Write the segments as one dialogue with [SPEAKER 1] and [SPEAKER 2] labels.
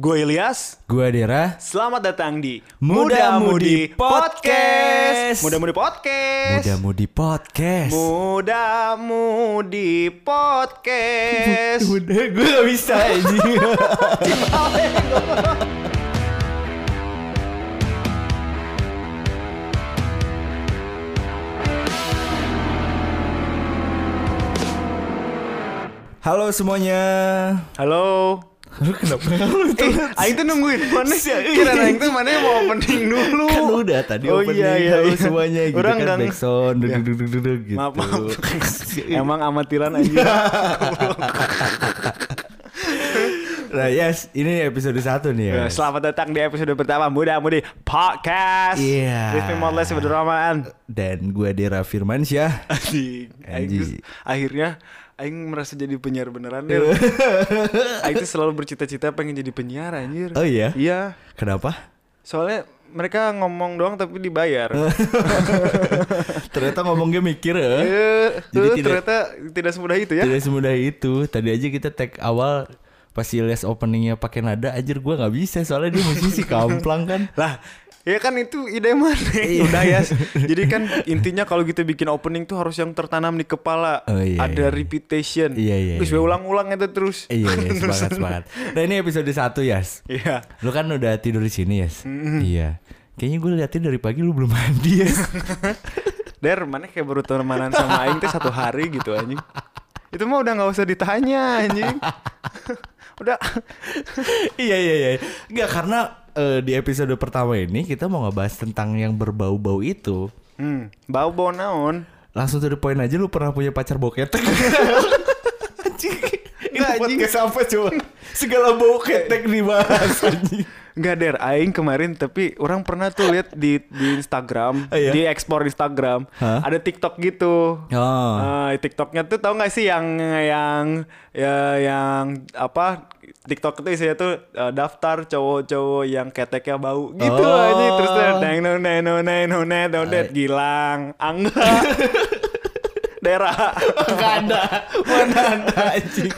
[SPEAKER 1] Gue Ilyas,
[SPEAKER 2] Gua Dera.
[SPEAKER 1] selamat datang di
[SPEAKER 2] Muda Mudi Podcast.
[SPEAKER 1] Muda Mudi Podcast.
[SPEAKER 2] Muda Mudi Podcast.
[SPEAKER 1] Muda Mudi Podcast.
[SPEAKER 2] Udah gue gak bisa anjing. Halo semuanya.
[SPEAKER 1] Halo.
[SPEAKER 2] Lu kenapa lu
[SPEAKER 1] Eh, Aing tuh nungguin mana sih? Kira Aing tuh mana mau opening dulu.
[SPEAKER 2] Kan udah tadi
[SPEAKER 1] Oh
[SPEAKER 2] opening
[SPEAKER 1] iya, iya,
[SPEAKER 2] halo
[SPEAKER 1] iya.
[SPEAKER 2] semuanya gitu
[SPEAKER 1] Orang
[SPEAKER 2] kan
[SPEAKER 1] gang-
[SPEAKER 2] backsound duduk,
[SPEAKER 1] Iya.
[SPEAKER 2] duduk, duduk, duduk, gitu.
[SPEAKER 1] Maaf, maaf. Iya. Emang amatiran aja.
[SPEAKER 2] Nah, yes, ini episode 1 nih ya.
[SPEAKER 1] Ya, Selamat datang di episode pertama Muda Mudi Podcast.
[SPEAKER 2] Iya.
[SPEAKER 1] With me Modles Abdurrahman.
[SPEAKER 2] Dan gue Dera Firmansyah.
[SPEAKER 1] Anjing. Aing
[SPEAKER 2] Anjing.
[SPEAKER 1] tuh akhirnya aing merasa jadi penyiar beneran deh. aing tuh selalu bercita-cita pengen jadi penyiar anjir.
[SPEAKER 2] Oh iya?
[SPEAKER 1] Iya.
[SPEAKER 2] Kenapa?
[SPEAKER 1] Soalnya mereka ngomong doang tapi dibayar.
[SPEAKER 2] Ternyata ngomongnya mikir
[SPEAKER 1] Eh,
[SPEAKER 2] eh. Jadi
[SPEAKER 1] eh,
[SPEAKER 2] tidak-
[SPEAKER 1] ternyata tidak semudah itu ya.
[SPEAKER 2] Tidak semudah itu. Tadi aja kita tag awal pas les openingnya pakai nada anjir gue nggak bisa soalnya dia musisi kamplang kan.
[SPEAKER 1] Lah, ya kan itu ide mana?
[SPEAKER 2] Iya.
[SPEAKER 1] Udah ya. Jadi kan intinya kalau kita bikin opening tuh harus yang tertanam di kepala.
[SPEAKER 2] Oh, iya,
[SPEAKER 1] Ada
[SPEAKER 2] iya.
[SPEAKER 1] repetition.
[SPEAKER 2] Iya, iya,
[SPEAKER 1] Terus
[SPEAKER 2] iya.
[SPEAKER 1] ulang-ulang itu terus.
[SPEAKER 2] Eh, Iya, iya semangat semangat. Nah ini episode 1 Yas.
[SPEAKER 1] Iya.
[SPEAKER 2] Lu kan udah tidur di sini Yas. Iya. Kayaknya gue liatin dari pagi lu belum mandi Yas.
[SPEAKER 1] Der, mana kayak baru temenan sama Aing teh satu hari gitu anjing. Itu mah udah nggak usah ditanya anjing. udah.
[SPEAKER 2] iya iya iya. Enggak karena eh, di episode pertama ini kita mau ngebahas tentang yang berbau-bau itu.
[SPEAKER 1] Hmm, bau bau naon.
[SPEAKER 2] Langsung to the point aja lu pernah punya pacar boketek. anjing. Ini
[SPEAKER 1] Enggak, anjing.
[SPEAKER 2] podcast apa coba? Segala bau ketek dibahas anjing.
[SPEAKER 1] Enggak der, Aing kemarin tapi orang pernah tuh lihat di di Instagram,
[SPEAKER 2] Oh, iya?
[SPEAKER 1] di ekspor Instagram,
[SPEAKER 2] Hah?
[SPEAKER 1] ada TikTok gitu.
[SPEAKER 2] Oh.
[SPEAKER 1] Eh, TikToknya tuh tau gak sih yang yang ya yang apa TikTok itu isinya tuh eh, daftar cowok-cowok yang keteknya bau gitu
[SPEAKER 2] Oh.
[SPEAKER 1] aja terus tuh neng neng neng neng neng neng neng neng neng gilang angga daerah
[SPEAKER 2] Enggak ada. Mana ada anjing.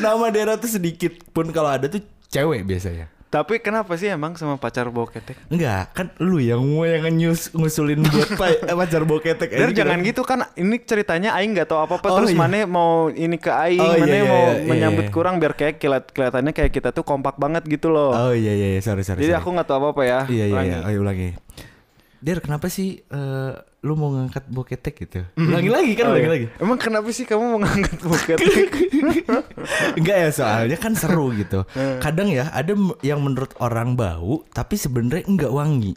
[SPEAKER 2] Nama daerah tuh sedikit pun kalau ada tuh cewek biasanya.
[SPEAKER 1] tapi kenapa sih emang sama pacar bau ketek
[SPEAKER 2] Enggak, kan lu yang mau yang nyus, ngusulin buat pa- eh, pacar boketek
[SPEAKER 1] Der
[SPEAKER 2] anjing.
[SPEAKER 1] jangan gitu kan ini ceritanya Aing nggak tahu apa-apa
[SPEAKER 2] Oh,
[SPEAKER 1] terus
[SPEAKER 2] iya.
[SPEAKER 1] mana mau ini ke Aing
[SPEAKER 2] Oh, iya,
[SPEAKER 1] mana
[SPEAKER 2] iya,
[SPEAKER 1] mau
[SPEAKER 2] iya, iya,
[SPEAKER 1] menyambut
[SPEAKER 2] iya.
[SPEAKER 1] kurang biar kayak keliat- kelihatannya kayak kita tuh kompak banget gitu loh
[SPEAKER 2] Oh iya iya iya, sorry sorry.
[SPEAKER 1] jadi
[SPEAKER 2] sorry.
[SPEAKER 1] aku nggak tahu apa-apa ya
[SPEAKER 2] Iya iya
[SPEAKER 1] Ulangi.
[SPEAKER 2] iya, ayo ulangi. Der, kenapa sih eh, lu mau ngangkat boketek gitu? Ulangi lagi
[SPEAKER 1] Oh,
[SPEAKER 2] kan, ulangi
[SPEAKER 1] iya.
[SPEAKER 2] lagi.
[SPEAKER 1] Emang kenapa sih kamu mau ngangkat buket?
[SPEAKER 2] Enggak ya, soalnya kan seru gitu.
[SPEAKER 1] Eh.
[SPEAKER 2] Kadang ya ada m- yang menurut orang bau tapi sebenarnya enggak wangi.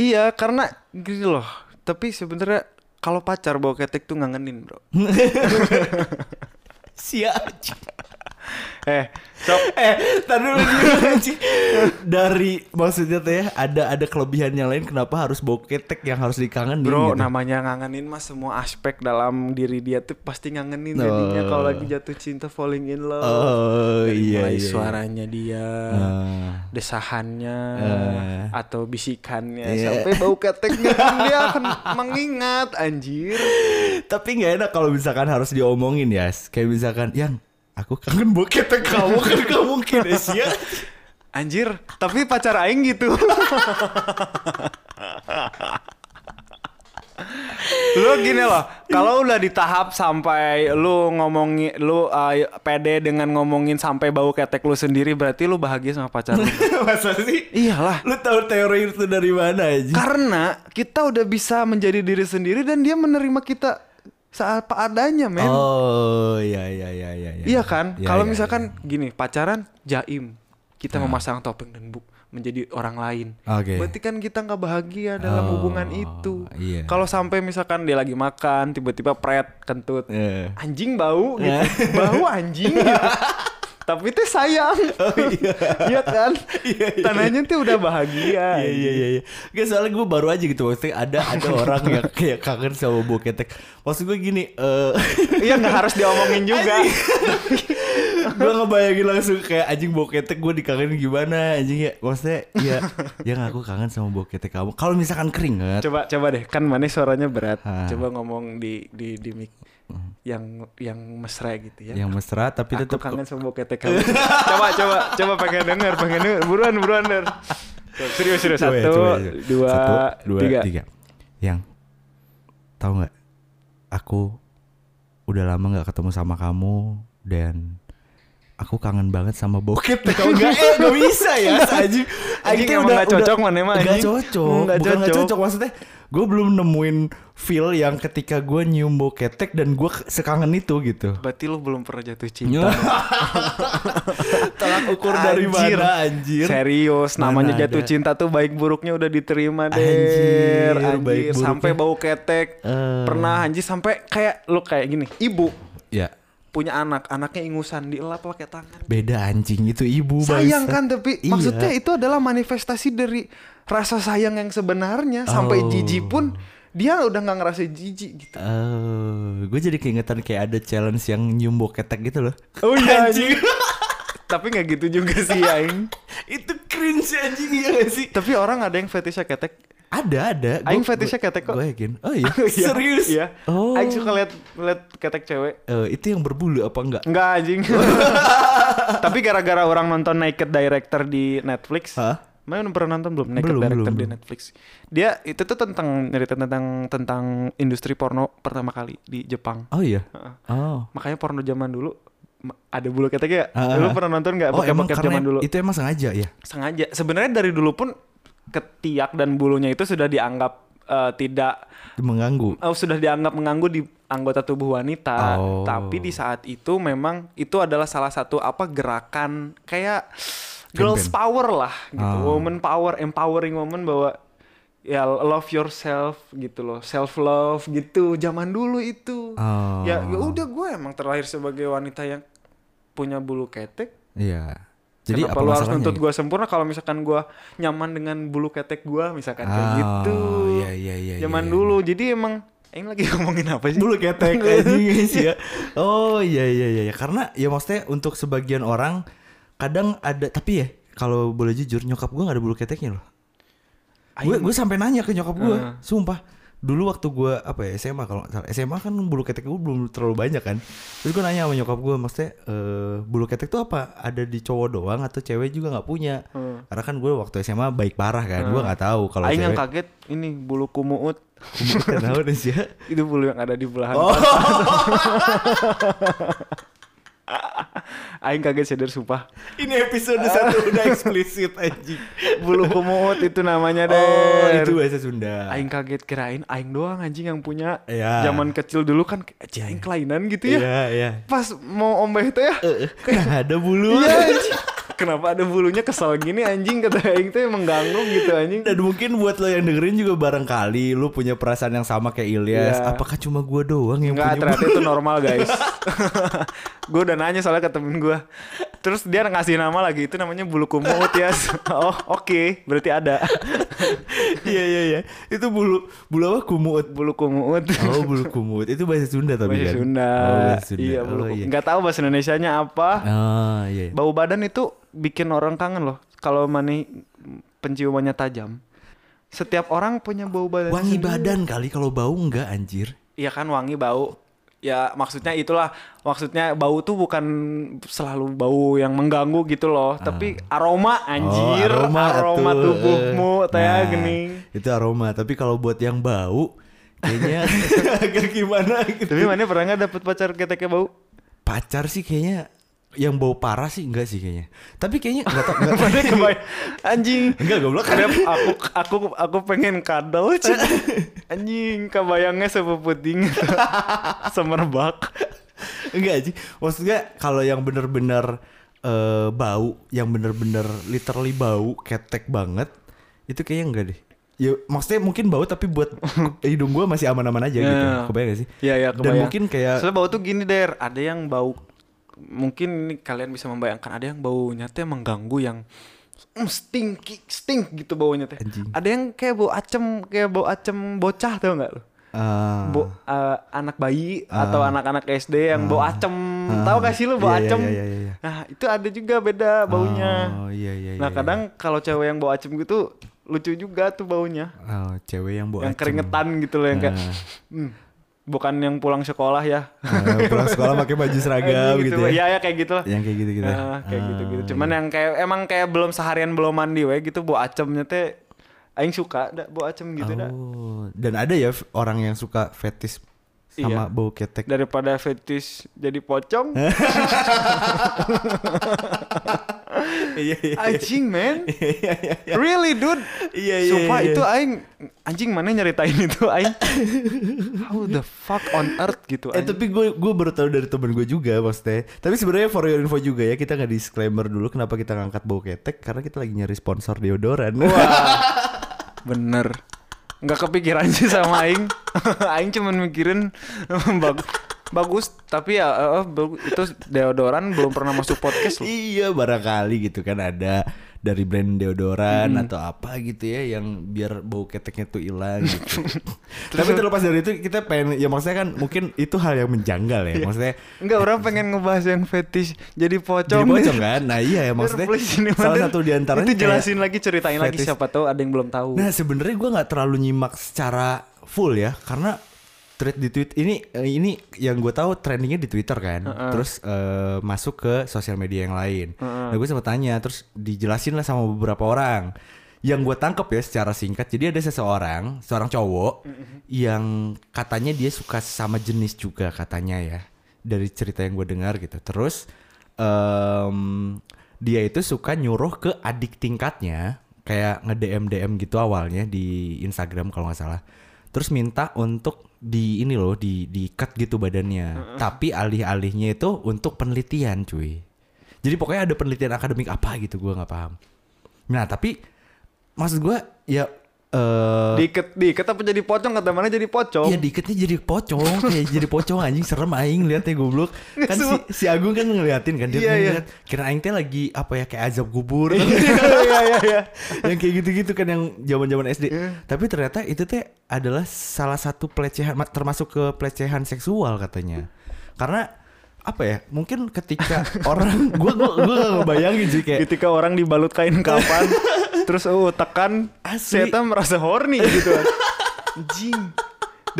[SPEAKER 1] iya, karena gini loh. Tapi sebenarnya kalau pacar bawa ketek tuh ngangenin, Bro.
[SPEAKER 2] Hmm, Siap.
[SPEAKER 1] Eh, sok
[SPEAKER 2] eh, tar dulu dulu, anjing. Dari maksudnya tuh ya ada ada kelebihan yang lain kenapa harus bau ketek yang harus dikangenin
[SPEAKER 1] Bro,
[SPEAKER 2] gitu.
[SPEAKER 1] namanya ngangenin mas semua aspek dalam diri dia tuh pasti ngangenin jadinya
[SPEAKER 2] Oh.
[SPEAKER 1] kalau lagi jatuh cinta falling in love.
[SPEAKER 2] Oh
[SPEAKER 1] Dari
[SPEAKER 2] iya,
[SPEAKER 1] mulai
[SPEAKER 2] iya.
[SPEAKER 1] suaranya dia,
[SPEAKER 2] Ah.
[SPEAKER 1] desahannya,
[SPEAKER 2] Eh.
[SPEAKER 1] atau bisikannya
[SPEAKER 2] Iya.
[SPEAKER 1] sampai bau keteknya dia akan mengingat anjir.
[SPEAKER 2] Tapi nggak enak kalau misalkan harus diomongin ya. Kayak misalkan, yang aku kangen bau ketek kamu kan gak mungkin Asia.
[SPEAKER 1] Anjir, tapi pacar aing gitu. lu gini loh, kalau udah di tahap sampai lu ngomongin lu uh, pede dengan ngomongin sampai bau ketek lu sendiri berarti lu bahagia sama pacar lu.
[SPEAKER 2] Masa sih?
[SPEAKER 1] Iyalah,
[SPEAKER 2] Lu tahu teori itu dari mana aja?
[SPEAKER 1] karena kita udah bisa menjadi diri sendiri dan dia menerima kita saat apa adanya, men.
[SPEAKER 2] Oh iya iya iya iya.
[SPEAKER 1] Iya kan?
[SPEAKER 2] Iya,
[SPEAKER 1] Kalau
[SPEAKER 2] iya,
[SPEAKER 1] misalkan gini, pacaran jaim. Kita memasang topeng dan buk menjadi orang lain.
[SPEAKER 2] Oke.
[SPEAKER 1] Berarti kan kita nggak bahagia dalam
[SPEAKER 2] Oh,
[SPEAKER 1] hubungan itu.
[SPEAKER 2] iya.
[SPEAKER 1] Kalau sampai misalkan dia lagi makan, tiba-tiba pret, kentut.
[SPEAKER 2] Iya.
[SPEAKER 1] Anjing bau gitu. bau anjing. gitu. Tapi teh sayang.
[SPEAKER 2] Oh,
[SPEAKER 1] iya. kan? Tanahnya tuh udah bahagia.
[SPEAKER 2] Iya iya iya. iya. Nggak, soalnya gue baru aja gitu maksudnya ada ada orang yang kayak kangen sama bau ketek. Maksud gue gini, eh
[SPEAKER 1] Iya nggak harus diomongin juga.
[SPEAKER 2] gue ngebayangin langsung kayak anjing bau ketek gue dikangenin gimana anjing ya. Maksudnya ya yang aku kangen sama bau ketek kamu. Kalau misalkan keringet. Ah.
[SPEAKER 1] coba coba deh, kan mana suaranya berat.
[SPEAKER 2] Hah.
[SPEAKER 1] Coba ngomong di di di mic.
[SPEAKER 2] Hmm.
[SPEAKER 1] yang yang mesra gitu ya.
[SPEAKER 2] yang mesra tapi
[SPEAKER 1] Aku
[SPEAKER 2] tetap
[SPEAKER 1] kangen sama bokete kamu. coba coba coba pengen denger, pengen denger. Buruan buruan denger. Serius serius satu,
[SPEAKER 2] Coba ya, coba ya, coba.
[SPEAKER 1] Dua,
[SPEAKER 2] Satu,
[SPEAKER 1] tiga.
[SPEAKER 2] Yang tahu nggak? Aku udah lama nggak ketemu sama kamu dan aku kangen banget sama bokep. Tahu nggak? Eh nggak bisa ya, anjing.
[SPEAKER 1] Anjing emang nggak cocok mana emang,
[SPEAKER 2] Nggak
[SPEAKER 1] anjing?
[SPEAKER 2] cocok.
[SPEAKER 1] Nggak
[SPEAKER 2] Bukan nggak
[SPEAKER 1] cocok.
[SPEAKER 2] cocok maksudnya. Gue belum nemuin feel yang ketika gue nyium boketek dan gue sekangen itu gitu.
[SPEAKER 1] Berarti lu belum pernah jatuh cinta.
[SPEAKER 2] Tolak ukur
[SPEAKER 1] dari mana,
[SPEAKER 2] anjir?
[SPEAKER 1] Serius, namanya
[SPEAKER 2] Mana
[SPEAKER 1] jatuh
[SPEAKER 2] ada.
[SPEAKER 1] cinta tuh baik buruknya udah diterima deh.
[SPEAKER 2] Anjir,
[SPEAKER 1] Anjir,
[SPEAKER 2] baik buruknya.
[SPEAKER 1] sampai bau ketek.
[SPEAKER 2] Eh.
[SPEAKER 1] Pernah anjir sampai kayak lu kayak gini, ibu
[SPEAKER 2] Ya,
[SPEAKER 1] punya anak, anaknya ingusan dielap pakai tangan.
[SPEAKER 2] beda anjing itu ibu
[SPEAKER 1] Sayang
[SPEAKER 2] bangsa.
[SPEAKER 1] kan tapi
[SPEAKER 2] Iya.
[SPEAKER 1] maksudnya itu adalah manifestasi dari rasa sayang yang sebenarnya
[SPEAKER 2] Oh.
[SPEAKER 1] sampai jijik pun dia udah nggak ngerasa jijik gitu.
[SPEAKER 2] Oh, gue jadi keingetan kayak ada challenge yang nyium boketek gitu loh.
[SPEAKER 1] Oh iya anjing. tapi nggak gitu juga sih aing.
[SPEAKER 2] Itu cringe anjing ya gak sih?
[SPEAKER 1] tapi orang ada yang fetishnya ketek.
[SPEAKER 2] Ada, ada. Gua-
[SPEAKER 1] Aing fetishnya
[SPEAKER 2] gua-
[SPEAKER 1] ketek kok.
[SPEAKER 2] Gua yakin. Oh iya.
[SPEAKER 1] Iya,
[SPEAKER 2] Serius?
[SPEAKER 1] Iya.
[SPEAKER 2] Oh.
[SPEAKER 1] Aing suka lihat lihat ketek cewek.
[SPEAKER 2] Eh, itu yang berbulu apa enggak?
[SPEAKER 1] Enggak anjing. Tapi gara-gara orang nonton Naked Director di Netflix.
[SPEAKER 2] Hah?
[SPEAKER 1] Mana pernah nonton belum Naked
[SPEAKER 2] Belum,
[SPEAKER 1] Director
[SPEAKER 2] belum,
[SPEAKER 1] di
[SPEAKER 2] belum.
[SPEAKER 1] Netflix? Dia itu tuh tentang cerita tentang tentang industri porno pertama kali di Jepang.
[SPEAKER 2] Oh iya.
[SPEAKER 1] Heeh.
[SPEAKER 2] Oh.
[SPEAKER 1] Makanya porno zaman dulu ma- ada bulu keteknya.
[SPEAKER 2] Ah,
[SPEAKER 1] Lu
[SPEAKER 2] ah.
[SPEAKER 1] pernah nonton nggak
[SPEAKER 2] oh, emang
[SPEAKER 1] bokep-bokep
[SPEAKER 2] karena
[SPEAKER 1] zaman dulu?
[SPEAKER 2] itu emang sengaja ya.
[SPEAKER 1] sengaja sebenarnya dari dulu pun ketiak dan bulunya itu sudah dianggap eh, tidak
[SPEAKER 2] Mengganggu.
[SPEAKER 1] Oh, sudah dianggap mengganggu di anggota tubuh wanita.
[SPEAKER 2] Oh.
[SPEAKER 1] Tapi di saat itu memang itu adalah salah satu apa gerakan kayak girls
[SPEAKER 2] Campaign.
[SPEAKER 1] power lah gitu.
[SPEAKER 2] Ah.
[SPEAKER 1] Woman power, empowering woman bahwa ya love yourself gitu loh. Self love gitu zaman dulu itu.
[SPEAKER 2] Oh.
[SPEAKER 1] Ya ya udah gue emang terlahir sebagai wanita yang punya bulu ketek.
[SPEAKER 2] Iya. Jadi
[SPEAKER 1] Kenapa lu
[SPEAKER 2] apa
[SPEAKER 1] harus
[SPEAKER 2] masalahnya
[SPEAKER 1] nuntut
[SPEAKER 2] gitu?
[SPEAKER 1] gue sempurna kalau misalkan gue nyaman dengan bulu ketek gue misalkan kayak
[SPEAKER 2] Ah,
[SPEAKER 1] gitu.
[SPEAKER 2] iya, iya, iya,
[SPEAKER 1] Zaman
[SPEAKER 2] iya,
[SPEAKER 1] dulu. Jadi emang ini lagi ngomongin apa sih?
[SPEAKER 2] bulu ketek anjing guys ya. Oh iya iya iya karena ya maksudnya untuk sebagian orang kadang ada tapi ya kalau boleh jujur nyokap gua gak ada bulu keteknya loh. Gue gue sampai nanya ke nyokap gua, sumpah. Dulu waktu gua apa ya SMA kalau nggak salah. SMA kan bulu ketek gue belum terlalu banyak kan. Terus gue nanya sama nyokap gua maksudnya eh, bulu ketek tuh apa? Ada di cowok doang atau cewek juga nggak punya? Karena kan gue waktu SMA baik parah kan. Gua nggak tahu kalau
[SPEAKER 1] Aing yang
[SPEAKER 2] cewek.
[SPEAKER 1] kaget ini bulu kumuut
[SPEAKER 2] Tahu deh sih ya.
[SPEAKER 1] itu bulu yang ada di belahan.
[SPEAKER 2] Oh.
[SPEAKER 1] Aing kaget sadar sumpah.
[SPEAKER 2] Ini episode satu udah eksplisit anjing.
[SPEAKER 1] Bulu kumuut itu namanya deh.
[SPEAKER 2] Oh, itu bahasa Sunda.
[SPEAKER 1] Aing kaget kirain aing doang anjing yang punya.
[SPEAKER 2] Iya.
[SPEAKER 1] Zaman kecil dulu kan "Cih, aing kelainan gitu ya.
[SPEAKER 2] Iya, iya.
[SPEAKER 1] Pas mau ombeh itu ya.
[SPEAKER 2] Eh, Nah, ada bulu.
[SPEAKER 1] Iya anjing. Kenapa ada bulunya kesel gini anjing kata aing tuh mengganggu gitu anjing.
[SPEAKER 2] Dan mungkin buat lo yang dengerin juga barangkali lu punya perasaan yang sama kayak Ilyas.
[SPEAKER 1] Iya.
[SPEAKER 2] Apakah cuma gua doang yang
[SPEAKER 1] Enggak,
[SPEAKER 2] punya
[SPEAKER 1] ternyata itu normal guys. gue udah nanya soalnya ke temen gue. Terus dia ngasih nama lagi, itu namanya bulu kumut ya. oh oke, berarti ada.
[SPEAKER 2] bulu? Iya, iya, iya. Itu bulu bulu apa kumut.
[SPEAKER 1] bulu kumut.
[SPEAKER 2] Oh, bulu kumut. Itu bahasa Sunda tapi
[SPEAKER 1] Bahasa
[SPEAKER 2] kan.
[SPEAKER 1] Sunda.
[SPEAKER 2] Oh, bahasa Sunda.
[SPEAKER 1] Iya,
[SPEAKER 2] oh,
[SPEAKER 1] bulu
[SPEAKER 2] iya.
[SPEAKER 1] kumut. Nggak tahu bahasa Indonesianya apa.
[SPEAKER 2] Oh, iya. iya.
[SPEAKER 1] Bau badan itu bikin orang kangen loh. Kalau mani penciumannya tajam. Setiap orang punya bau badan.
[SPEAKER 2] Wangi
[SPEAKER 1] sendiri.
[SPEAKER 2] badan kali kalau bau enggak anjir.
[SPEAKER 1] Iya kan wangi bau. Ya maksudnya itulah maksudnya bau tuh bukan selalu bau yang mengganggu gitu loh, tapi aroma anjir,
[SPEAKER 2] Ah. Oh,
[SPEAKER 1] aroma,
[SPEAKER 2] tuh.
[SPEAKER 1] tubuhmu
[SPEAKER 2] Nah,
[SPEAKER 1] teh gini.
[SPEAKER 2] Itu aroma, tapi kalau buat yang bau kayaknya agak gimana gitu.
[SPEAKER 1] Tapi mana pernah nggak dapet pacar keteknya bau?
[SPEAKER 2] pacar sih kayaknya yang bau parah sih enggak sih kayaknya. Tapi kayaknya enggak tau enggak
[SPEAKER 1] Mana kebay anjing.
[SPEAKER 2] enggak goblok.
[SPEAKER 1] Kadang aku aku aku pengen kadal Cik. anjing kebayangnya sepeputing semerbak
[SPEAKER 2] Enggak sih. Maksudnya kalau yang bener-bener eh, bau, yang bener-bener literally bau, ketek banget, itu kayaknya enggak deh. Ya maksudnya mungkin bau tapi buat hidung gua masih aman-aman aja gitu.
[SPEAKER 1] Ya.
[SPEAKER 2] Kebayang gak sih?
[SPEAKER 1] Iya ya
[SPEAKER 2] Dan mungkin kayak
[SPEAKER 1] Soalnya bau tuh gini der, ada yang bau mungkin ini kalian bisa membayangkan ada yang baunya tuh yang mengganggu yang mm, stinky, stink gitu baunya teh.
[SPEAKER 2] Anjing.
[SPEAKER 1] Ada yang kayak bau acem, kayak bau acem bocah tau nggak lu?
[SPEAKER 2] eh,
[SPEAKER 1] Bau eh, anak bayi atau anak-anak SD yang bau acem.
[SPEAKER 2] Ah.
[SPEAKER 1] Tahu gak sih lu bau
[SPEAKER 2] Iya, iya,
[SPEAKER 1] acem?
[SPEAKER 2] iya, iya, iya.
[SPEAKER 1] Nah, itu ada juga beda baunya.
[SPEAKER 2] Oh iya iya
[SPEAKER 1] nah,
[SPEAKER 2] iya.
[SPEAKER 1] kadang kalau cewek yang bau acem gitu lucu juga tuh baunya.
[SPEAKER 2] Oh, cewek yang bau
[SPEAKER 1] yang
[SPEAKER 2] acem.
[SPEAKER 1] keringetan gitu loh yang kayak
[SPEAKER 2] Ah.
[SPEAKER 1] "Hmm, bukan yang pulang sekolah ya.
[SPEAKER 2] Nah, pulang sekolah pakai baju seragam gitu, ya.
[SPEAKER 1] ya. Ya kayak gitu lah.
[SPEAKER 2] Yang kayak gitu-gitu. ya.
[SPEAKER 1] Ah, kayak
[SPEAKER 2] Ah,
[SPEAKER 1] gitu-gitu. Cuman yang kayak emang kayak belum seharian belum mandi we gitu bu acemnya teh aing suka dah bu acem gitu dah.
[SPEAKER 2] oh. Dan ada ya f- orang yang suka fetis sama
[SPEAKER 1] Iya.
[SPEAKER 2] bau ketek.
[SPEAKER 1] Daripada fetish jadi pocong,
[SPEAKER 2] Iya iya.
[SPEAKER 1] anjing man. iya. Really dude.
[SPEAKER 2] Iya, iya,
[SPEAKER 1] Sumpah
[SPEAKER 2] iya.
[SPEAKER 1] itu aing anjing mana nyeritain itu aing. How the fuck on earth gitu
[SPEAKER 2] Eh
[SPEAKER 1] aing.
[SPEAKER 2] tapi gue gue baru tahu dari temen gue juga maksudnya. Tapi sebenarnya for your info juga ya kita nggak disclaimer dulu kenapa kita ngangkat bau ketek karena kita lagi nyari sponsor deodoran.
[SPEAKER 1] Bener nggak kepikiran sih sama Aing Aing cuman mikirin bag- Bagus tapi ya eh, eh, bagu- Itu deodoran belum pernah masuk podcast loh
[SPEAKER 2] iya barangkali gitu kan ada dari brand deodoran
[SPEAKER 1] Hmm.
[SPEAKER 2] atau apa gitu ya yang biar bau keteknya tuh hilang gitu. tapi terlepas dari itu kita pengen ya maksudnya kan mungkin itu hal yang menjanggal ya
[SPEAKER 1] Iya.
[SPEAKER 2] maksudnya.
[SPEAKER 1] Enggak orang pengen ngebahas yang fetish Jadi
[SPEAKER 2] Jadi
[SPEAKER 1] pocong
[SPEAKER 2] pocong kan? Nah iya ya maksudnya salah satu di antaranya
[SPEAKER 1] Itu
[SPEAKER 2] kayak-
[SPEAKER 1] jelasin lagi ceritain lagi
[SPEAKER 2] fetish.
[SPEAKER 1] Siapa tahu ada yang belum tahu
[SPEAKER 2] Nah sebenarnya gue nggak terlalu nyimak secara full ya karena thread di tweet ini eh, ini yang gue tahu trendingnya di Twitter kan, terus eh, masuk ke sosial media yang lain. Nah gue sempat tanya, terus dijelasin lah sama beberapa orang. Yang gue tangkep ya secara singkat, jadi ada seseorang, seorang cowok yang katanya dia suka sama jenis juga katanya ya dari cerita yang gue dengar gitu. Terus em, dia itu suka nyuruh ke adik tingkatnya kayak nge DM DM gitu awalnya di Instagram kalau nggak salah. Terus minta untuk di ini loh di di cut gitu badannya. Tapi alih-alihnya itu untuk penelitian cuy. Jadi pokoknya ada penelitian akademik apa gitu gua nggak paham. Nah tapi maksud gua ya eh
[SPEAKER 1] Diikat diikat apa jadi pocong Kata mana jadi pocong
[SPEAKER 2] Iya diketnya jadi pocong kayak jadi pocong anjing serem aing liatnya goblok. Kan si,
[SPEAKER 1] Semua-
[SPEAKER 2] si Agung kan ngeliatin kan dia
[SPEAKER 1] Iya, iya.
[SPEAKER 2] ngeliat kira aing teh lagi apa ya kayak azab kubur.
[SPEAKER 1] Iya iya iya
[SPEAKER 2] yang kayak gitu-gitu kan yang zaman-zaman SD. Tapi ternyata itu teh adalah salah satu pelecehan ma- termasuk ke pelecehan seksual katanya. Karena apa ya? Mungkin ketika orang gua gua gua gak ngebayangin sih kayak
[SPEAKER 1] Ketika orang dibalut kain kapan terus uh tekan
[SPEAKER 2] Asli.
[SPEAKER 1] Seta merasa horny gitu. Jing.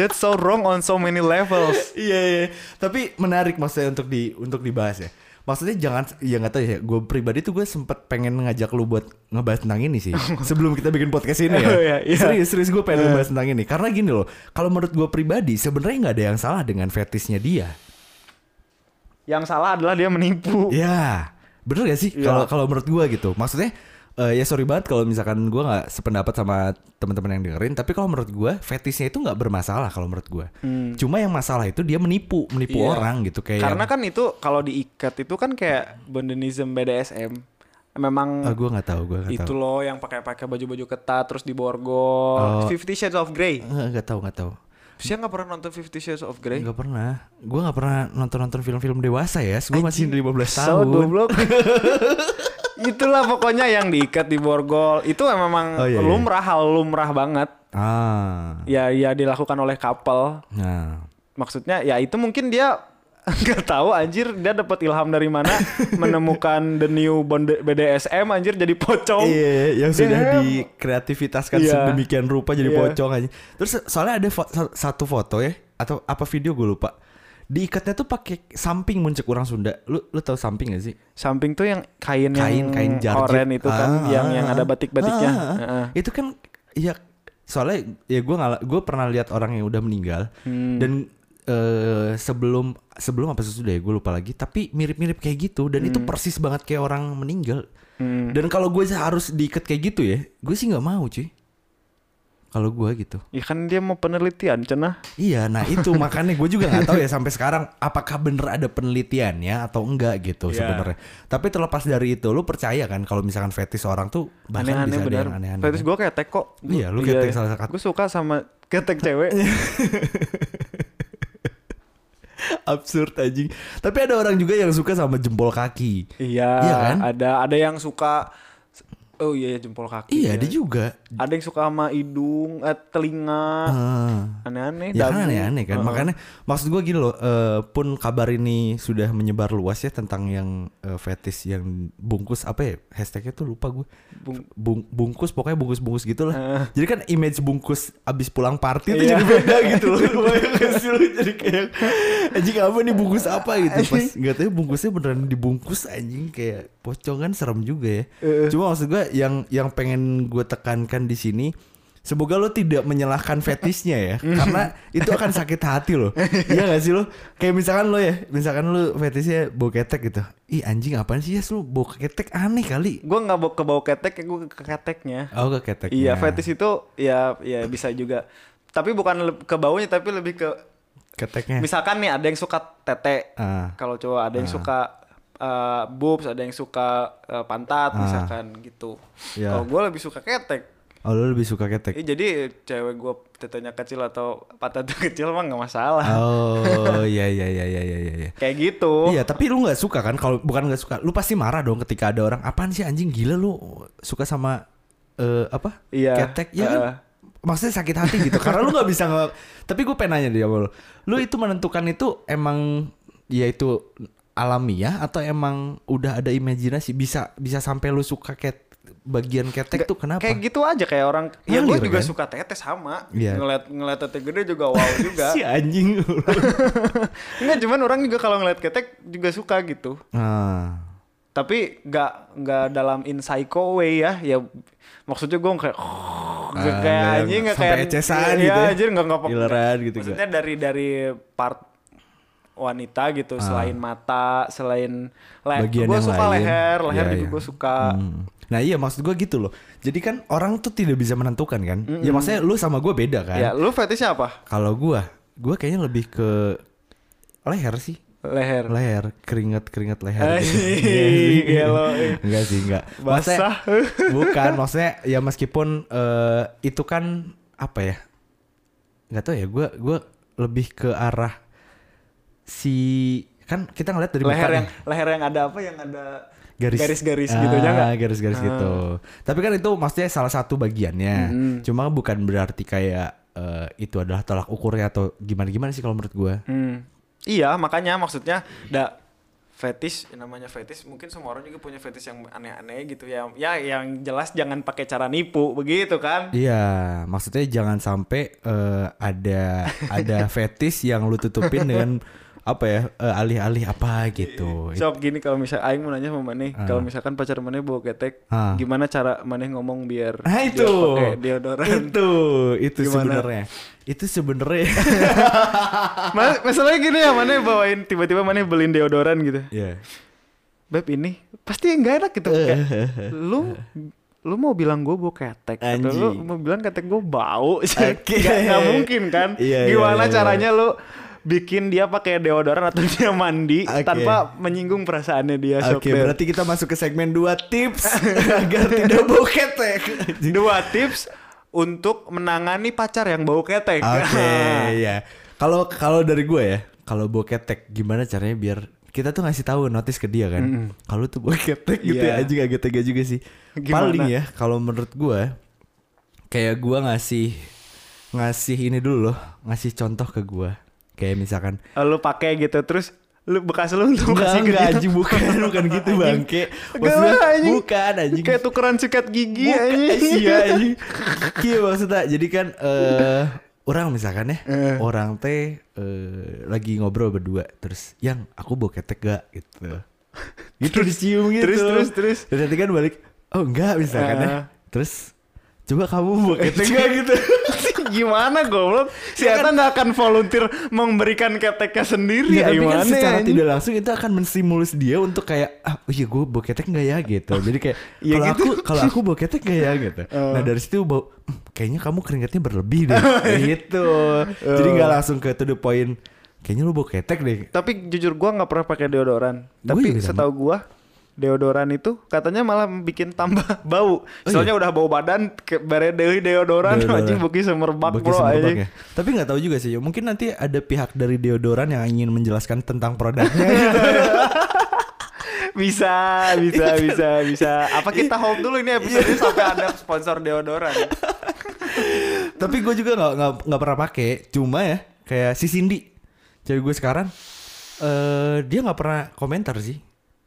[SPEAKER 1] That's so wrong on so many levels.
[SPEAKER 2] iya iya tapi menarik maksudnya untuk di untuk dibahas ya maksudnya jangan ya nggak tahu ya gue pribadi tuh gue sempet pengen ngajak lu buat ngebahas tentang ini sih sebelum kita bikin podcast ini ya
[SPEAKER 1] Oh, iya, iya.
[SPEAKER 2] serius serius gue pengen ngebahas tentang ini karena gini loh kalau menurut gue pribadi sebenarnya nggak ada yang salah dengan fetishnya dia
[SPEAKER 1] Yang salah adalah dia menipu.
[SPEAKER 2] ya bener gak sih
[SPEAKER 1] Iya.
[SPEAKER 2] kalau kalau menurut gue gitu maksudnya eh, ya sorry banget kalau misalkan gue nggak sependapat sama teman-teman yang dengerin tapi kalau menurut gue fetishnya itu nggak bermasalah kalau menurut gue cuma yang masalah itu dia menipu menipu
[SPEAKER 1] Hmm. Iya.
[SPEAKER 2] orang gitu kayak
[SPEAKER 1] Karena kan itu kalau diikat itu kan kayak bondenism BDSM. Memang
[SPEAKER 2] Ah, gua nggak tahu, gua nggak
[SPEAKER 1] itu
[SPEAKER 2] tahu.
[SPEAKER 1] loh yang pakai-pakai baju-baju ketat terus diborgol. Fifty Shades of Grey.
[SPEAKER 2] Eh, Nggak tahu, nggak tahu.
[SPEAKER 1] Siapa nggak pernah nonton Fifty Shades of Grey?
[SPEAKER 2] Nggak pernah. Gua nggak pernah nonton-nonton film-film dewasa ya. Gue masih 15
[SPEAKER 1] So
[SPEAKER 2] tahun.
[SPEAKER 1] goblok. Itulah pokoknya yang diikat di borgol. Itu memang
[SPEAKER 2] Oh, iya, iya.
[SPEAKER 1] lumrah hal lumrah banget.
[SPEAKER 2] Ah.
[SPEAKER 1] Ya ya dilakukan oleh couple.
[SPEAKER 2] Nah.
[SPEAKER 1] Maksudnya ya itu mungkin dia nggak tahu anjir dia dapat ilham dari mana menemukan the new bonde- BDSM anjir jadi pocong.
[SPEAKER 2] Iya, yang sudah
[SPEAKER 1] Oh, Damn.
[SPEAKER 2] dikreativitaskan
[SPEAKER 1] Iya.
[SPEAKER 2] sedemikian rupa jadi
[SPEAKER 1] Iya.
[SPEAKER 2] pocong aja. Terus soalnya ada fo- sa- satu foto ya atau apa video gue lupa. Diikatnya tuh pakai samping muncul orang Sunda. Lu lu tahu samping gak sih?
[SPEAKER 1] Samping tuh yang kain, yang
[SPEAKER 2] kain kain jarjit
[SPEAKER 1] oren itu kan
[SPEAKER 2] Ah,
[SPEAKER 1] yang
[SPEAKER 2] ah,
[SPEAKER 1] yang
[SPEAKER 2] ah.
[SPEAKER 1] ada batik-batiknya.
[SPEAKER 2] Ah, ah, ah.
[SPEAKER 1] Heeh.
[SPEAKER 2] itu kan ya soalnya ya gue gue pernah lihat orang yang udah meninggal
[SPEAKER 1] Hmm.
[SPEAKER 2] dan eh, sebelum sebelum apa sesudah ya gue lupa lagi tapi mirip-mirip kayak gitu dan
[SPEAKER 1] Hmm.
[SPEAKER 2] itu persis banget kayak orang meninggal dan kalau gue harus diikat kayak gitu ya gue sih nggak mau cuy kalau gue gitu
[SPEAKER 1] Ya kan dia mau penelitian cenah.
[SPEAKER 2] Iya, nah itu makanya gue juga nggak tahu ya sampai sekarang apakah bener ada penelitiannya atau enggak gitu
[SPEAKER 1] Iya.
[SPEAKER 2] sebenarnya. Tapi terlepas dari itu, lu percaya kan kalau misalkan fetish orang tuh
[SPEAKER 1] aneh-aneh
[SPEAKER 2] bahkan bisa ada
[SPEAKER 1] bener.
[SPEAKER 2] yang aneh-aneh.
[SPEAKER 1] Fetish gue ketek kok.
[SPEAKER 2] Iya, lu ketek salah satu.
[SPEAKER 1] Gue suka sama ketek cewek.
[SPEAKER 2] Absurd anjing. Tapi ada orang juga yang suka sama jempol kaki.
[SPEAKER 1] iya,
[SPEAKER 2] Iya kan?
[SPEAKER 1] ada ada yang suka Oh iya, jempol kaki. ya.
[SPEAKER 2] Iya, ada juga.
[SPEAKER 1] Ada yang suka sama hidung, eh, telinga,
[SPEAKER 2] Ah.
[SPEAKER 1] aneh-aneh.
[SPEAKER 2] Ya
[SPEAKER 1] dagu.
[SPEAKER 2] kan aneh-aneh kan.
[SPEAKER 1] Heeh.
[SPEAKER 2] Makanya maksud gua gini loh, eh, pun kabar ini sudah menyebar luas ya tentang yang eh, fetish yang bungkus apa ya? Hashtagnya tuh lupa gue.
[SPEAKER 1] Bung-
[SPEAKER 2] Bung- bungkus pokoknya bungkus-bungkus
[SPEAKER 1] Heeh.
[SPEAKER 2] gitu lah. Jadi kan image bungkus abis pulang party tuh
[SPEAKER 1] Iya.
[SPEAKER 2] jadi beda gitu loh. Kebayang gak sih lu? jadi kayak anjing apa nih bungkus apa gitu. Pas gak tau bungkusnya beneran dibungkus anjing kayak pocongan serem juga ya.
[SPEAKER 1] Heeh.
[SPEAKER 2] Cuma maksud gue yang yang pengen gue tekankan di sini Semoga lo tidak menyalahkan fetishnya ya Karena itu akan sakit hati lo Iya gak sih lo? Kayak misalkan lo ya Misalkan lo fetishnya bau ketek gitu Ih anjing apaan sih ya lo bau ketek aneh kali
[SPEAKER 1] Gue nggak bawa ke bawah ketek, gue ke keteknya.
[SPEAKER 2] Oh ke keteknya
[SPEAKER 1] Iya, fetish itu ya ya bisa juga. Tapi bukan le- ke baunya, tapi lebih ke
[SPEAKER 2] Keteknya
[SPEAKER 1] misalkan nih ada yang suka tete.
[SPEAKER 2] Eh. Ah.
[SPEAKER 1] Kalau cowok ada yang suka eh, boobs, ada yang suka eh, pantat misalkan gitu.
[SPEAKER 2] Ah. Iya.
[SPEAKER 1] Kalau gue lebih suka ketek.
[SPEAKER 2] Oh lo lebih suka
[SPEAKER 1] Eh,
[SPEAKER 2] ketek
[SPEAKER 1] jadi cewek gue tetenya kecil atau pantatnya kecil mah nggak masalah.
[SPEAKER 2] Oh iya iya iya iya iya iya
[SPEAKER 1] Kayak gitu.
[SPEAKER 2] Iya tapi lu gak suka kan kalau Bukan gak suka Lu pasti marah dong ketika ada orang Apaan sih anjing gila lu Suka sama eh, Apa?
[SPEAKER 1] Iya.
[SPEAKER 2] Ketek Ya kan
[SPEAKER 1] Heeh.
[SPEAKER 2] Maksudnya sakit hati gitu Karena lu gak bisa nge- Tapi gue pengen nanya deh sama lu Lu itu menentukan itu Emang Ya itu Alamiah Atau emang Udah ada imajinasi Bisa bisa sampai lu suka ket Bagian ketek tuh kenapa?
[SPEAKER 1] Kayak gitu aja kayak orang ya gue
[SPEAKER 2] Ngalir,
[SPEAKER 1] juga
[SPEAKER 2] kan?
[SPEAKER 1] suka tete sama.
[SPEAKER 2] Iya.
[SPEAKER 1] Ngeliat ngeliat tete gede juga wow juga.
[SPEAKER 2] Si anjing lu.
[SPEAKER 1] Enggak cuman orang juga kalau ngeliat ketek juga suka gitu.
[SPEAKER 2] Nah
[SPEAKER 1] Tapi nggak nggak dalam in psycho way ya. Ya maksudnya gue kayak
[SPEAKER 2] Ah,
[SPEAKER 1] kayak
[SPEAKER 2] nggak-
[SPEAKER 1] anjing nggak
[SPEAKER 2] sampai
[SPEAKER 1] kayak
[SPEAKER 2] ecesan
[SPEAKER 1] Iya,
[SPEAKER 2] gitu ya.
[SPEAKER 1] anjir nggak ngapa.
[SPEAKER 2] Ileran gitu,
[SPEAKER 1] Maksudnya dari dari part wanita gitu selain mata selain leher
[SPEAKER 2] Ah. bagian
[SPEAKER 1] gue
[SPEAKER 2] yang
[SPEAKER 1] suka
[SPEAKER 2] lain.
[SPEAKER 1] leher leher
[SPEAKER 2] Iya,
[SPEAKER 1] juga
[SPEAKER 2] iya.
[SPEAKER 1] gue suka
[SPEAKER 2] Hmm. Nah iya maksud gue gitu loh. Jadi kan orang tuh tidak bisa menentukan kan. Ya maksudnya lu sama gue beda kan.
[SPEAKER 1] ya lu fetishnya apa
[SPEAKER 2] Kalau gue, gue kayaknya lebih ke leher sih.
[SPEAKER 1] leher
[SPEAKER 2] Leher, keringat-keringat
[SPEAKER 1] Eh,
[SPEAKER 2] leher. gitu. Iya sih.
[SPEAKER 1] Anjing, gelo.
[SPEAKER 2] Enggak sih, enggak.
[SPEAKER 1] iya.
[SPEAKER 2] Maksudnya-
[SPEAKER 1] Basah.
[SPEAKER 2] bukan, maksudnya ya meskipun eh, itu kan apa ya? Enggak tahu ya, gue gua lebih ke arah si kan kita ngeliat dari
[SPEAKER 1] leher
[SPEAKER 2] muka
[SPEAKER 1] yang
[SPEAKER 2] nih.
[SPEAKER 1] leher yang ada apa yang ada
[SPEAKER 2] garis
[SPEAKER 1] garis-garis gitunya
[SPEAKER 2] Ah,
[SPEAKER 1] nggak?
[SPEAKER 2] garis-garis gitu tapi kan itu maksudnya salah satu bagiannya
[SPEAKER 1] Mm-hmm.
[SPEAKER 2] cuma bukan berarti kayak eh, itu adalah tolak ukurnya atau gimana gimana sih kalau menurut gue
[SPEAKER 1] Hmm. Iya, makanya maksudnya da fetish yang namanya fetish mungkin semua orang juga punya fetish yang aneh-aneh gitu ya. Ya yang jelas jangan pakai cara nipu begitu kan.
[SPEAKER 2] Iya, maksudnya jangan sampai eh, ada ada fetis yang lu tutupin dengan apa ya eh, alih-alih apa gitu.
[SPEAKER 1] Sok gini kalau misal aing mau nanya sama Maneh, kalau misalkan pacar Maneh bawa ketek,
[SPEAKER 2] Ah.
[SPEAKER 1] gimana cara Maneh ngomong biar
[SPEAKER 2] Nah
[SPEAKER 1] dia
[SPEAKER 2] itu,
[SPEAKER 1] Iya, pakai deodoran?
[SPEAKER 2] itu, itu
[SPEAKER 1] Gimana?
[SPEAKER 2] sebenarnya, itu sebenarnya.
[SPEAKER 1] Ma- masalahnya gini ya, Maneh bawain tiba-tiba Maneh beliin deodoran gitu.
[SPEAKER 2] Iya.
[SPEAKER 1] Beb ini pasti nggak enak gitu. Kayak, lu lu mau bilang gue bau ketek atau lu
[SPEAKER 2] Anjing.
[SPEAKER 1] mau bilang ketek gue bau
[SPEAKER 2] Oke.
[SPEAKER 1] nggak nggak mungkin kan
[SPEAKER 2] Iya, iya,
[SPEAKER 1] gimana
[SPEAKER 2] iya, iya.
[SPEAKER 1] caranya lu bikin dia pakai deodoran atau dia mandi
[SPEAKER 2] Oke.
[SPEAKER 1] tanpa menyinggung perasaannya dia Sok
[SPEAKER 2] Oke,
[SPEAKER 1] Del.
[SPEAKER 2] berarti kita masuk ke segmen dua tips agar tidak bau ketek.
[SPEAKER 1] dua tips untuk menangani pacar yang bau ketek
[SPEAKER 2] Oke, ya. Kalau kalau dari gue ya, kalau bau ketek gimana caranya biar kita tuh ngasih tahu notice ke dia kan. Kalau tuh bau ketek gitu
[SPEAKER 1] Iya.
[SPEAKER 2] ya anjing agak tega juga sih.
[SPEAKER 1] Gimana?
[SPEAKER 2] Paling ya kalau menurut gue kayak gue ngasih ngasih ini dulu loh, ngasih contoh ke gue. Kayak misalkan
[SPEAKER 1] lu pakai gitu terus lu bekas lu lu
[SPEAKER 2] Enggak,
[SPEAKER 1] kasih ke
[SPEAKER 2] enggak
[SPEAKER 1] dia.
[SPEAKER 2] anjing bukan, bukan gitu bangke.
[SPEAKER 1] Enggak
[SPEAKER 2] Maksudnya,
[SPEAKER 1] lah, anjing.
[SPEAKER 2] bukan anjing.
[SPEAKER 1] kayak tukeran sikat gigi
[SPEAKER 2] Bukan,
[SPEAKER 1] anjing.
[SPEAKER 2] iya, anjing. Iya maksudnya jadi kan eh orang misalkan ya, orang teh eh, lagi ngobrol berdua terus yang aku bau ketek gak gitu. Gitu dicium gitu.
[SPEAKER 1] terus, terus, terus.
[SPEAKER 2] Terus nanti kan balik, oh enggak misalkan ya.
[SPEAKER 1] Ah.
[SPEAKER 2] Terus coba kamu bau ketek gak gitu.
[SPEAKER 1] gimana goblok si
[SPEAKER 2] Ya
[SPEAKER 1] Eta nggak akan volunteer memberikan keteknya sendiri ya,
[SPEAKER 2] Iya, tapi kan
[SPEAKER 1] gimana
[SPEAKER 2] secara
[SPEAKER 1] anjing?
[SPEAKER 2] tidak langsung itu akan menstimulus dia untuk kayak ah oh iya gue boketek nggak ya gitu. Jadi kayak
[SPEAKER 1] Iya
[SPEAKER 2] kalau
[SPEAKER 1] gitu. Oh.
[SPEAKER 2] aku kalau aku boketek nggak ya gitu. Nah dari situ bau "Hmm, kayaknya kamu keringatnya berlebih deh gitu.
[SPEAKER 1] Oh.
[SPEAKER 2] Jadi nggak langsung ke to the point. Kayaknya lu boketek deh.
[SPEAKER 1] tapi jujur gua nggak pernah pakai deodoran
[SPEAKER 2] Gua
[SPEAKER 1] tapi
[SPEAKER 2] juga sama.
[SPEAKER 1] setahu gua deodoran itu katanya malah bikin tambah bau soalnya udah bau badan ke bare deui deodoran
[SPEAKER 2] Oh, iya? Deodoran.
[SPEAKER 1] anjing beki semerbak
[SPEAKER 2] Bagi
[SPEAKER 1] bro
[SPEAKER 2] Gitu. semerbak
[SPEAKER 1] anjing
[SPEAKER 2] ya. Tapi nggak tahu juga sih. Mungkin nanti ada pihak dari deodoran yang ingin menjelaskan tentang produknya.
[SPEAKER 1] bisa, bisa, bisa, bisa. Apa kita hold dulu ini episode ini sampai ada sponsor deodoran?
[SPEAKER 2] Tapi gue juga nggak nggak nggak pernah pakai. Cuma ya kayak si Cindy, cewek gue sekarang, eh dia nggak pernah komentar sih.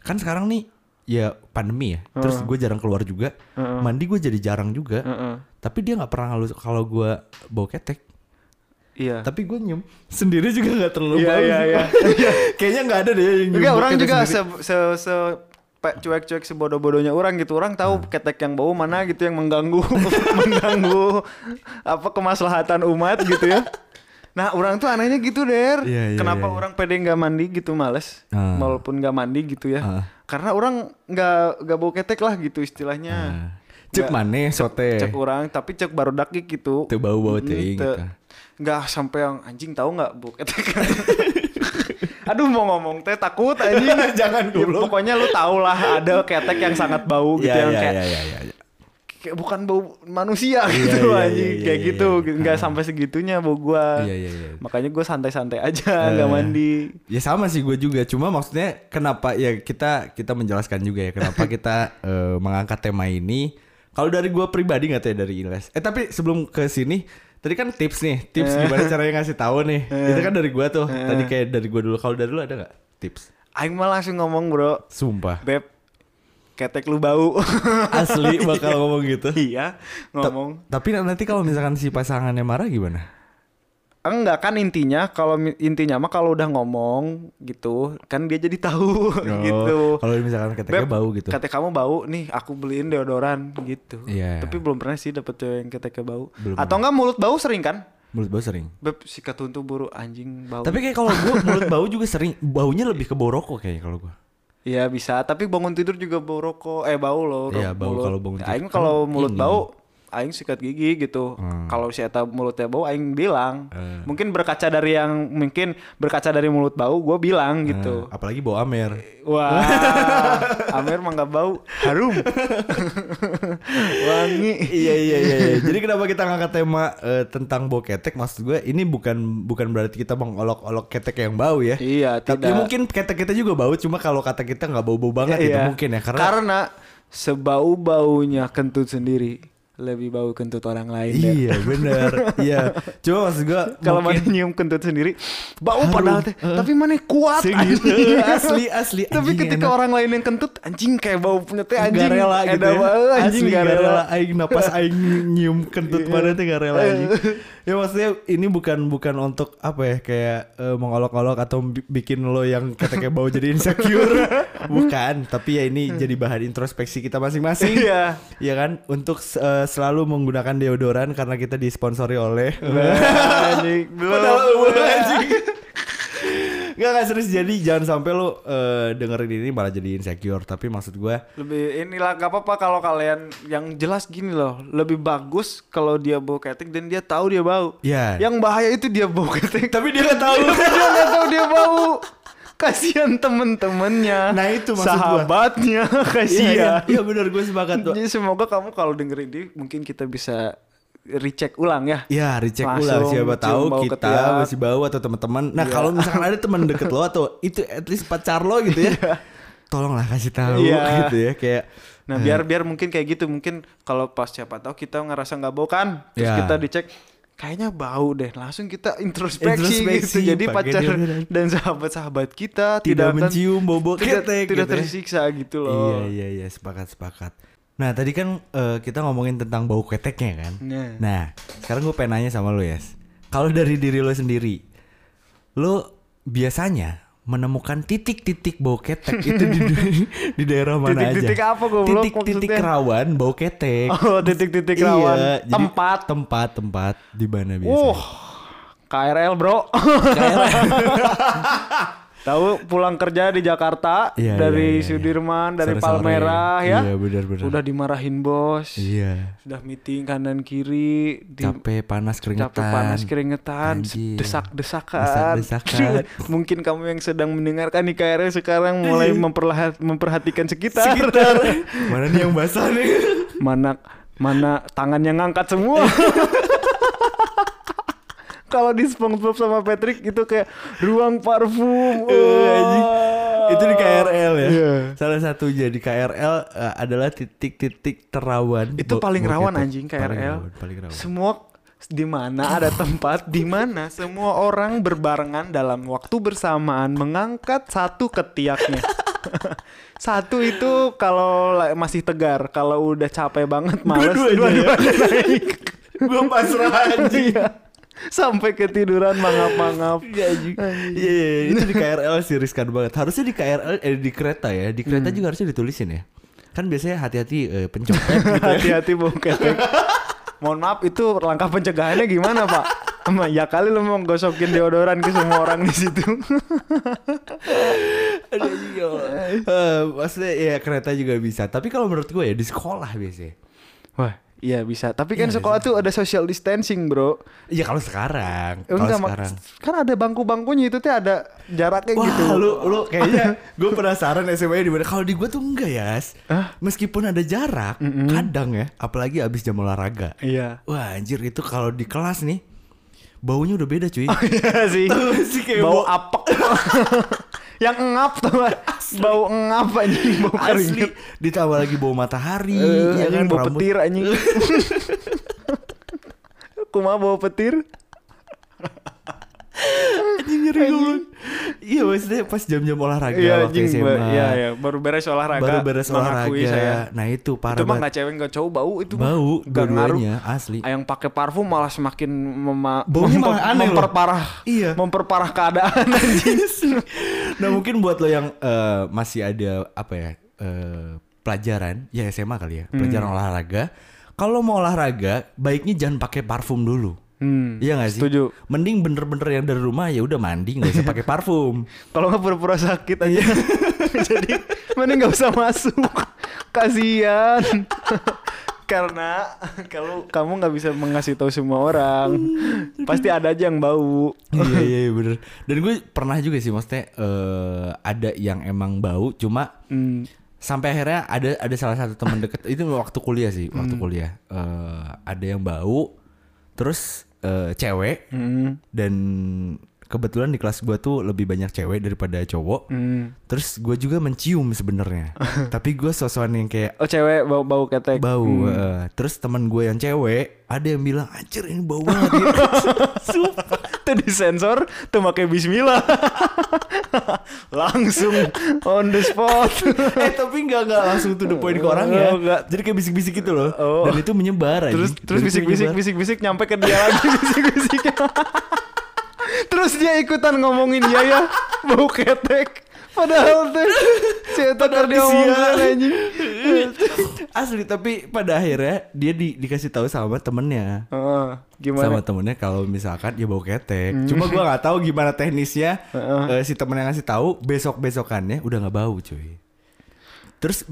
[SPEAKER 2] Kan sekarang nih ya pandemi ya. Terus gue jarang keluar juga. Mandi gue jadi jarang juga.
[SPEAKER 1] Heeh.
[SPEAKER 2] Tapi dia nggak pernah ngeluh kalau gue bau ketek.
[SPEAKER 1] Iya.
[SPEAKER 2] Tapi gue nyium sendiri juga nggak terlalu
[SPEAKER 1] Iya,
[SPEAKER 2] bau.
[SPEAKER 1] iya, iya.
[SPEAKER 2] Kayaknya nggak ada deh yang nyium
[SPEAKER 1] Enggak,
[SPEAKER 2] bau
[SPEAKER 1] orang
[SPEAKER 2] ketek
[SPEAKER 1] juga
[SPEAKER 2] sendiri.
[SPEAKER 1] se se, se pe- cuek-cuek sebodoh-bodohnya orang gitu. Orang tahu
[SPEAKER 2] Hmm.
[SPEAKER 1] ketek yang bau mana gitu yang mengganggu mengganggu apa kemaslahatan umat gitu ya. Nah, orang tuh anehnya gitu, Der.
[SPEAKER 2] Iya, iya,
[SPEAKER 1] Kenapa
[SPEAKER 2] iya, iya.
[SPEAKER 1] orang pede nggak mandi gitu males?
[SPEAKER 2] Ah.
[SPEAKER 1] Walaupun nggak mandi gitu ya.
[SPEAKER 2] Ah.
[SPEAKER 1] Karena orang nggak nggak bau ketek lah gitu istilahnya.
[SPEAKER 2] Nah, Cek
[SPEAKER 1] Nggak-
[SPEAKER 2] mana sote.
[SPEAKER 1] cek orang tapi cek baru daki gitu
[SPEAKER 2] Tuh bau-bau
[SPEAKER 1] Hmm,
[SPEAKER 2] teuing
[SPEAKER 1] teu-
[SPEAKER 2] gitu.
[SPEAKER 1] nggak sampai yang anjing tahu nggak bu kan. aduh mau ngomong teh takut anjing Ya,
[SPEAKER 2] Jangan goblok.
[SPEAKER 1] pokoknya lu tau lah ada ketek yang sangat bau gitu
[SPEAKER 2] Iya,
[SPEAKER 1] yang
[SPEAKER 2] iya,
[SPEAKER 1] kayak,
[SPEAKER 2] iya, iya, iya, iya.
[SPEAKER 1] kayak bukan bau manusia gitu
[SPEAKER 2] iya,
[SPEAKER 1] anjing
[SPEAKER 2] iya,
[SPEAKER 1] kayak
[SPEAKER 2] iya,
[SPEAKER 1] gitu
[SPEAKER 2] iya.
[SPEAKER 1] nggak sampai segitunya bau gua
[SPEAKER 2] Iya, iya, iya.
[SPEAKER 1] makanya gua santai-santai aja nggak
[SPEAKER 2] Eh.
[SPEAKER 1] mandi
[SPEAKER 2] Ya sama sih gue juga, cuma maksudnya kenapa ya kita kita menjelaskan juga ya kenapa kita eh, mengangkat tema ini. Kalau dari gue pribadi nggak tahu ya dari Iles. Eh tapi sebelum ke sini, tadi kan tips nih, tips gimana caranya ngasih tahu nih. Itu kan dari gue tuh. Tadi kayak dari gue dulu. Kalau dari lu ada nggak tips?
[SPEAKER 1] Aing mah langsung ngomong bro
[SPEAKER 2] Sumpah,
[SPEAKER 1] beb ketek lu bau
[SPEAKER 2] asli bakal ngomong gitu.
[SPEAKER 1] iya
[SPEAKER 2] Ta-
[SPEAKER 1] ngomong
[SPEAKER 2] Tapi nanti kalau misalkan si pasangannya marah gimana?
[SPEAKER 1] Enggak kan intinya kalau mi- intinya mah kalau udah ngomong gitu kan dia jadi tahu gitu.
[SPEAKER 2] Oh, Kalau misalkan keteknya
[SPEAKER 1] Beb,
[SPEAKER 2] bau gitu.
[SPEAKER 1] Ketek kamu bau nih aku beliin deodoran gitu.
[SPEAKER 2] Iya.
[SPEAKER 1] Tapi belum pernah sih dapet cewek yang keteknya bau.
[SPEAKER 2] Belum
[SPEAKER 1] Atau enggak mulut bau sering kan?
[SPEAKER 2] Mulut bau sering.
[SPEAKER 1] Beb si ketuntu buru anjing bau.
[SPEAKER 2] Tapi kayak kalau gue mulut bau juga sering. Baunya lebih ke bau rokok kayaknya kalau gue.
[SPEAKER 1] Iya bisa, tapi bangun tidur juga bau rokok, eh bau loh. ro-
[SPEAKER 2] Iya, bau
[SPEAKER 1] mulut.
[SPEAKER 2] kalau bangun tidur.
[SPEAKER 1] Aing kalau
[SPEAKER 2] Kan Hmm.
[SPEAKER 1] mulut
[SPEAKER 2] ini.
[SPEAKER 1] bau, aing sikat gigi gitu. Kalau si eta mulutnya bau, aing bilang.
[SPEAKER 2] Eh.
[SPEAKER 1] Mungkin berkaca dari yang mungkin berkaca dari mulut bau, gue bilang gitu.
[SPEAKER 2] Nah, apalagi bau amer.
[SPEAKER 1] Wah, Amir mah nggak bau, harum, wangi.
[SPEAKER 2] iya iya iya. iya. Jadi kenapa kita ngangkat tema eh, tentang bau ketek? Maksud gue ini bukan bukan berarti kita mengolok-olok ketek yang bau ya.
[SPEAKER 1] Iya,
[SPEAKER 2] Tapi
[SPEAKER 1] tidak.
[SPEAKER 2] mungkin ketek kita juga bau. Cuma kalau kata kita nggak bau-bau
[SPEAKER 1] Iya.
[SPEAKER 2] banget itu mungkin ya. Karena
[SPEAKER 1] sebau baunya kentut sendiri lebih bau kentut orang lain. ya.
[SPEAKER 2] iya bener. iya. Cuma maksud gue
[SPEAKER 1] Kalau
[SPEAKER 2] mungkin-
[SPEAKER 1] mana nyium kentut sendiri, bau
[SPEAKER 2] Harum.
[SPEAKER 1] padahal teh. Tapi mana kuat
[SPEAKER 2] Sing
[SPEAKER 1] anjing.
[SPEAKER 2] gitu. Asli, asli.
[SPEAKER 1] Tapi
[SPEAKER 2] Anjing
[SPEAKER 1] ketika
[SPEAKER 2] enak.
[SPEAKER 1] orang lain yang kentut, anjing kayak bau punya teh
[SPEAKER 2] Nggak
[SPEAKER 1] anjing.
[SPEAKER 2] rela gitu
[SPEAKER 1] Eda
[SPEAKER 2] ya.
[SPEAKER 1] banget, Anjing
[SPEAKER 2] Asli
[SPEAKER 1] gak
[SPEAKER 2] nggak
[SPEAKER 1] rela. Iya.
[SPEAKER 2] rela aing napas aing nyium kentut mana tuh gak rela anjing. Ya maksudnya ini bukan bukan untuk apa ya kayak eh, mengolok-olok atau bi- bikin lo yang keteknya bau jadi insecure. bukan, tapi ya ini jadi bahan introspeksi kita masing-masing.
[SPEAKER 1] Hmm. Iya.
[SPEAKER 2] Iya kan? Untuk eh, selalu menggunakan deodoran karena kita disponsori oleh
[SPEAKER 1] Anjing.
[SPEAKER 2] Padahal
[SPEAKER 1] Belum.
[SPEAKER 2] lu, anjing. Gak, gak serius jadi jangan sampai lo eh, dengerin ini malah jadi insecure tapi maksud gue
[SPEAKER 1] Lebih inilah gak apa-apa kalau kalian yang jelas gini loh. Lebih bagus kalau dia bau ketek dan dia tahu dia bau.
[SPEAKER 2] ya
[SPEAKER 1] Yang bahaya itu dia bau ketek.
[SPEAKER 2] Tapi dia nggak tahu.
[SPEAKER 1] Tapi dia gak tahu dia bau. Kasihan temen-temennya.
[SPEAKER 2] Nah, itu maksud gua.
[SPEAKER 1] Sahabatnya
[SPEAKER 2] Iya,
[SPEAKER 1] kasihan.
[SPEAKER 2] iya, iya benar gue sepakat tuh.
[SPEAKER 1] Jadi semoga kamu kalau dengerin ini mungkin kita bisa recheck ulang ya.
[SPEAKER 2] Ya recheck
[SPEAKER 1] Langsung
[SPEAKER 2] ulang siapa
[SPEAKER 1] cium
[SPEAKER 2] tahu
[SPEAKER 1] bau
[SPEAKER 2] kita
[SPEAKER 1] ketiak.
[SPEAKER 2] masih bau atau teman-teman. Nah kalau misalkan ada teman deket lo atau itu at least pacar lo gitu ya, tolonglah kasih tahu
[SPEAKER 1] Iya.
[SPEAKER 2] gitu ya kayak
[SPEAKER 1] Nah biar biar mungkin kayak gitu mungkin kalau pas siapa tahu kita ngerasa nggak bau kan, terus
[SPEAKER 2] Ya.
[SPEAKER 1] kita dicek kayaknya bau deh, langsung kita introspeksi,
[SPEAKER 2] Introspeksi,
[SPEAKER 1] gitu. Jadi
[SPEAKER 2] pakai
[SPEAKER 1] pacar
[SPEAKER 2] deodoran.
[SPEAKER 1] dan sahabat-sahabat kita
[SPEAKER 2] tidak
[SPEAKER 1] tidak, akan-
[SPEAKER 2] mencium bau-bau
[SPEAKER 1] tidak, tidak
[SPEAKER 2] ketek gitu ya.
[SPEAKER 1] tersiksa gitu loh.
[SPEAKER 2] Iya iya iya sepakat sepakat. Nah tadi kan eh, kita ngomongin tentang bau keteknya kan.
[SPEAKER 1] Nah.
[SPEAKER 2] Nah sekarang gue pengen nanya sama lo ya. Kalau dari diri lo sendiri, lo biasanya menemukan titik-titik bau ketek itu di, di daerah mana aja?
[SPEAKER 1] Titik-titik apa, goblok,
[SPEAKER 2] Titik-titik
[SPEAKER 1] maksudnya?
[SPEAKER 2] rawan bau ketek.
[SPEAKER 1] Oh titik-titik
[SPEAKER 2] Iya,
[SPEAKER 1] rawan
[SPEAKER 2] jadi
[SPEAKER 1] tempat.
[SPEAKER 2] tempat tempat di mana biasanya?
[SPEAKER 1] Uh, KRL bro. Tahu pulang kerja di Jakarta
[SPEAKER 2] Iya, iya,
[SPEAKER 1] dari
[SPEAKER 2] iya, iya.
[SPEAKER 1] Sudirman, dari
[SPEAKER 2] Sore-sore.
[SPEAKER 1] Palmerah ya.
[SPEAKER 2] Iya, benar-benar.
[SPEAKER 1] Udah dimarahin bos.
[SPEAKER 2] Iya.
[SPEAKER 1] Sudah meeting kanan kiri di
[SPEAKER 2] Capek panas keringetan.
[SPEAKER 1] capek panas keringetan,
[SPEAKER 2] Anjir.
[SPEAKER 1] desak-desakan.
[SPEAKER 2] Desak-desakan.
[SPEAKER 1] Mungkin kamu yang sedang mendengarkan di KRL sekarang mulai memperlahan- memperhatikan sekitar.
[SPEAKER 2] Sekitar. mana nih yang basah nih?
[SPEAKER 1] mana mana tangannya ngangkat semua. Kalau di SpongeBob sama Patrick itu kayak ruang parfum.
[SPEAKER 2] Eh, anjing.
[SPEAKER 1] wah.
[SPEAKER 2] itu di KRL ya.
[SPEAKER 1] Iya.
[SPEAKER 2] Salah satunya di KRL eh, adalah titik-titik terawan.
[SPEAKER 1] Itu
[SPEAKER 2] Bo-
[SPEAKER 1] paling
[SPEAKER 2] bokeh
[SPEAKER 1] rawan
[SPEAKER 2] tuh.
[SPEAKER 1] anjing
[SPEAKER 2] Paling
[SPEAKER 1] KRL.
[SPEAKER 2] rawan, paling rawan.
[SPEAKER 1] Semua di mana ada tempat di mana semua orang berbarengan dalam waktu bersamaan mengangkat satu ketiaknya. satu itu kalau la- masih tegar, kalau udah capek banget males
[SPEAKER 2] Dua-duanya ya?
[SPEAKER 1] dua-duanya naik.
[SPEAKER 2] Gua pasrah anjing.
[SPEAKER 1] Iya. Sampai ketiduran mangap-mangap.
[SPEAKER 2] Iya anjing. Iya, iya, iya. itu di KRL sih riskan banget. Harusnya di KRL eh di kereta ya. Di
[SPEAKER 1] Hmm.
[SPEAKER 2] kereta juga harusnya ditulisin ya. Kan biasanya hati-hati eh, pencopet gitu.
[SPEAKER 1] Hati-hati bau ketek. Mohon maaf itu langkah pencegahannya gimana pak? Emang, Ya kali lu mau gosokin deodoran ke semua orang di situ.
[SPEAKER 2] Aduh, anjing,
[SPEAKER 1] Iya.
[SPEAKER 2] ya Allah. Eh, maksudnya ya kereta juga bisa. Tapi kalau menurut gue ya di sekolah biasanya.
[SPEAKER 1] Wah, iya bisa. Tapi kan sekolah tuh ada social distancing, Bro.
[SPEAKER 2] Iya kalau sekarang,
[SPEAKER 1] Eh,
[SPEAKER 2] kalau
[SPEAKER 1] Mak.
[SPEAKER 2] Oh, sekarang.
[SPEAKER 1] Kan ada bangku-bangkunya itu tuh ada jaraknya
[SPEAKER 2] Wah,
[SPEAKER 1] gitu.
[SPEAKER 2] lu lu kayaknya gue penasaran SMA-nya di mana. Kalau di gue tuh enggak ya. Meskipun ada jarak, kadang ya, apalagi abis jam olahraga.
[SPEAKER 1] Iya.
[SPEAKER 2] Wah, anjir itu kalau di kelas nih baunya udah beda cuy.
[SPEAKER 1] Iya sih.
[SPEAKER 2] Tuh, sih kayak
[SPEAKER 1] bau
[SPEAKER 2] bau-
[SPEAKER 1] apek. Yang engap tuh. Pak. Bau engap anjing, bau
[SPEAKER 2] Asli
[SPEAKER 1] keringet.
[SPEAKER 2] ditambah lagi bau matahari,
[SPEAKER 1] Eh,
[SPEAKER 2] ya
[SPEAKER 1] anjing,
[SPEAKER 2] kan
[SPEAKER 1] bau
[SPEAKER 2] rambut.
[SPEAKER 1] petir anjing. Kumaha bau petir?
[SPEAKER 2] Anjing nyeri goblok. Iya maksudnya pas jam-jam olahraga
[SPEAKER 1] Iya
[SPEAKER 2] waktu
[SPEAKER 1] anjing,
[SPEAKER 2] SMA.
[SPEAKER 1] ba- iya iya, baru beres olahraga.
[SPEAKER 2] Baru beres
[SPEAKER 1] mengakui saya.
[SPEAKER 2] olahraga. Nah itu parah
[SPEAKER 1] itu mah
[SPEAKER 2] banget.
[SPEAKER 1] nggak cewek nggak cowok bau itu mah.
[SPEAKER 2] Bau
[SPEAKER 1] Nggak ngaruh. Ah,
[SPEAKER 2] dua-duanya asli.
[SPEAKER 1] yang pakai parfum malah semakin mema-
[SPEAKER 2] Baunya malah aneh loh.
[SPEAKER 1] memperparah
[SPEAKER 2] Iya.
[SPEAKER 1] memperparah keadaan anjing.
[SPEAKER 2] nah mungkin buat lo yang eh, masih ada apa ya eh, pelajaran ya SMA kali ya
[SPEAKER 1] Hmm.
[SPEAKER 2] pelajaran olahraga kalau mau olahraga baiknya jangan pakai parfum dulu
[SPEAKER 1] Hmm,
[SPEAKER 2] Iya gak sih?
[SPEAKER 1] setuju.
[SPEAKER 2] Mending bener-bener yang dari rumah ya udah mandi nggak usah pakai parfum.
[SPEAKER 1] Kalau nggak pura-pura sakit
[SPEAKER 2] Iya.
[SPEAKER 1] aja. Jadi mending nggak usah masuk. Kasihan. Karena kalau kamu nggak bisa mengasih tahu semua orang, pasti ada aja yang bau.
[SPEAKER 2] Iya iya iya, bener. Dan gue pernah juga sih maksudnya eh, ada yang emang bau cuma
[SPEAKER 1] Hmm.
[SPEAKER 2] sampai akhirnya ada ada salah satu teman deket itu waktu kuliah sih waktu
[SPEAKER 1] Hmm.
[SPEAKER 2] kuliah Eh, ada yang bau terus eh, cewek
[SPEAKER 1] Hmm.
[SPEAKER 2] dan kebetulan di kelas gua tuh lebih banyak cewek daripada cowok
[SPEAKER 1] Hmm.
[SPEAKER 2] terus gua juga mencium sebenarnya tapi gua sosokan yang kayak
[SPEAKER 1] Oh cewek bau bau ketek.
[SPEAKER 2] bau eh, terus teman gue yang cewek ada yang bilang anjir ini bau banget ya."
[SPEAKER 1] Sumpah. Tuh disensor, tuh pakai bismillah. Langsung on the spot.
[SPEAKER 2] eh tapi nggak nggak langsung to the point ke orang ya
[SPEAKER 1] Oh, nggak.
[SPEAKER 2] jadi kayak bisik-bisik gitu loh
[SPEAKER 1] Oh.
[SPEAKER 2] dan itu menyebar
[SPEAKER 1] terus
[SPEAKER 2] anjing.
[SPEAKER 1] terus
[SPEAKER 2] Dan itu
[SPEAKER 1] bisik-bisik
[SPEAKER 2] menyebar.
[SPEAKER 1] bisik-bisik nyampe ke dia lagi bisik-bisiknya. terus dia ikutan ngomongin ya ya bau ketek. Padahal tuh cerita dia ngomongin anjing.
[SPEAKER 2] asli tapi pada akhirnya dia di- dikasih tahu sama temennya
[SPEAKER 1] Heeh, gimana? Hmm.
[SPEAKER 2] sama temennya kalau misalkan ya bau ketek. Cuma gua nggak tahu gimana teknisnya eh, si temen yang ngasih tahu besok besokannya udah nggak bau cuy. Terus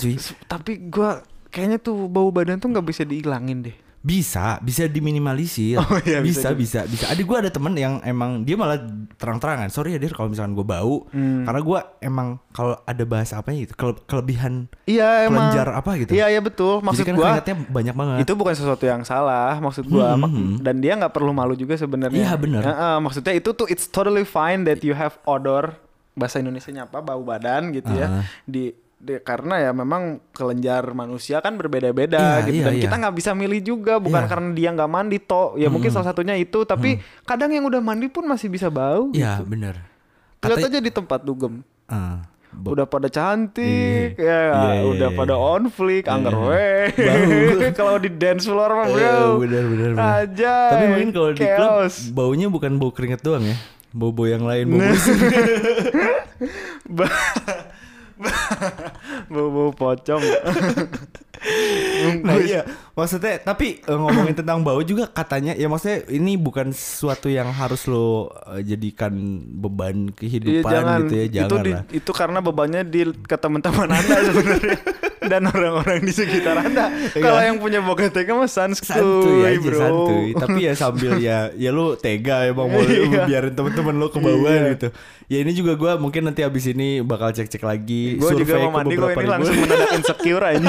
[SPEAKER 1] tapi,
[SPEAKER 2] cuy
[SPEAKER 1] Tapi gua kayaknya tuh bau badan tuh nggak bisa dihilangin deh.
[SPEAKER 2] bisa bisa diminimalisir
[SPEAKER 1] Oh, iya,
[SPEAKER 2] bisa,
[SPEAKER 1] bisa
[SPEAKER 2] bisa bisa adik gue ada temen yang emang dia malah terang-terangan sorry ya dir kalau misalkan gue bau
[SPEAKER 1] Hmm.
[SPEAKER 2] karena gua emang kalau ada bahasa apa gitu kele- kelebihan
[SPEAKER 1] Iya emang.
[SPEAKER 2] kelenjar apa gitu
[SPEAKER 1] Iya iya betul. Maksud
[SPEAKER 2] Jadi kan
[SPEAKER 1] gua
[SPEAKER 2] keringatnya banyak banget Hmm,
[SPEAKER 1] itu bukan sesuatu yang salah maksud gua Ma- dan dia nggak perlu malu juga sebenarnya
[SPEAKER 2] Iya, bener.
[SPEAKER 1] Heeh, maksudnya itu tuh it's totally fine that you have odor bahasa Indonesia apa bau badan gitu ya
[SPEAKER 2] Ah.
[SPEAKER 1] di, di- karena ya memang kelenjar manusia kan berbeda-beda
[SPEAKER 2] Iya,
[SPEAKER 1] gitu
[SPEAKER 2] iya,
[SPEAKER 1] dan
[SPEAKER 2] iya.
[SPEAKER 1] kita nggak bisa milih juga bukan
[SPEAKER 2] Iya. Hmm.
[SPEAKER 1] karena dia nggak mandi toh ya mungkin salah satunya itu tapi kadang yang udah mandi pun masih bisa bau
[SPEAKER 2] ya bener
[SPEAKER 1] lihat
[SPEAKER 2] Katanya-
[SPEAKER 1] aja di tempat dugem
[SPEAKER 2] Ah, bau.
[SPEAKER 1] udah pada cantik
[SPEAKER 2] Iya.
[SPEAKER 1] ya
[SPEAKER 2] Iya, iya,
[SPEAKER 1] udah
[SPEAKER 2] iya,
[SPEAKER 1] pada
[SPEAKER 2] iya.
[SPEAKER 1] on flick angker weh.
[SPEAKER 2] Bau.
[SPEAKER 1] kalau di dance floor mah bro
[SPEAKER 2] Eh, bener bener bener.
[SPEAKER 1] aja
[SPEAKER 2] Tapi mungkin kalau di klub baunya bukan bau keringet doang ya. Bau-bau yang lain, bau
[SPEAKER 1] bau bau pocong
[SPEAKER 2] Nah, iya. Maksudnya tapi eh, ngomongin tentang bau juga katanya ya maksudnya ini bukan sesuatu yang harus lo eh, jadikan beban
[SPEAKER 1] Iya,
[SPEAKER 2] kehidupan
[SPEAKER 1] jangan,
[SPEAKER 2] gitu ya,
[SPEAKER 1] itu
[SPEAKER 2] jangan
[SPEAKER 1] di-
[SPEAKER 2] lah.
[SPEAKER 1] itu karena bebannya di ke teman-teman anda sebenarnya dan orang-orang di sekitar anda kalau yang punya boketek mah santuy,
[SPEAKER 2] Iya. Santuy aja,
[SPEAKER 1] bro
[SPEAKER 2] santuy. Tapi ya sambil ya ya lu tega emang mau lu
[SPEAKER 1] Iya.
[SPEAKER 2] biarin temen-temen lu kebauan gitu. Ya ini juga gua mungkin nanti abis ini bakal cek-cek lagi
[SPEAKER 1] gue juga
[SPEAKER 2] survei
[SPEAKER 1] mau
[SPEAKER 2] ke
[SPEAKER 1] mandi gue
[SPEAKER 2] beberapa
[SPEAKER 1] ini
[SPEAKER 2] ribu.
[SPEAKER 1] langsung mendadak insecure aja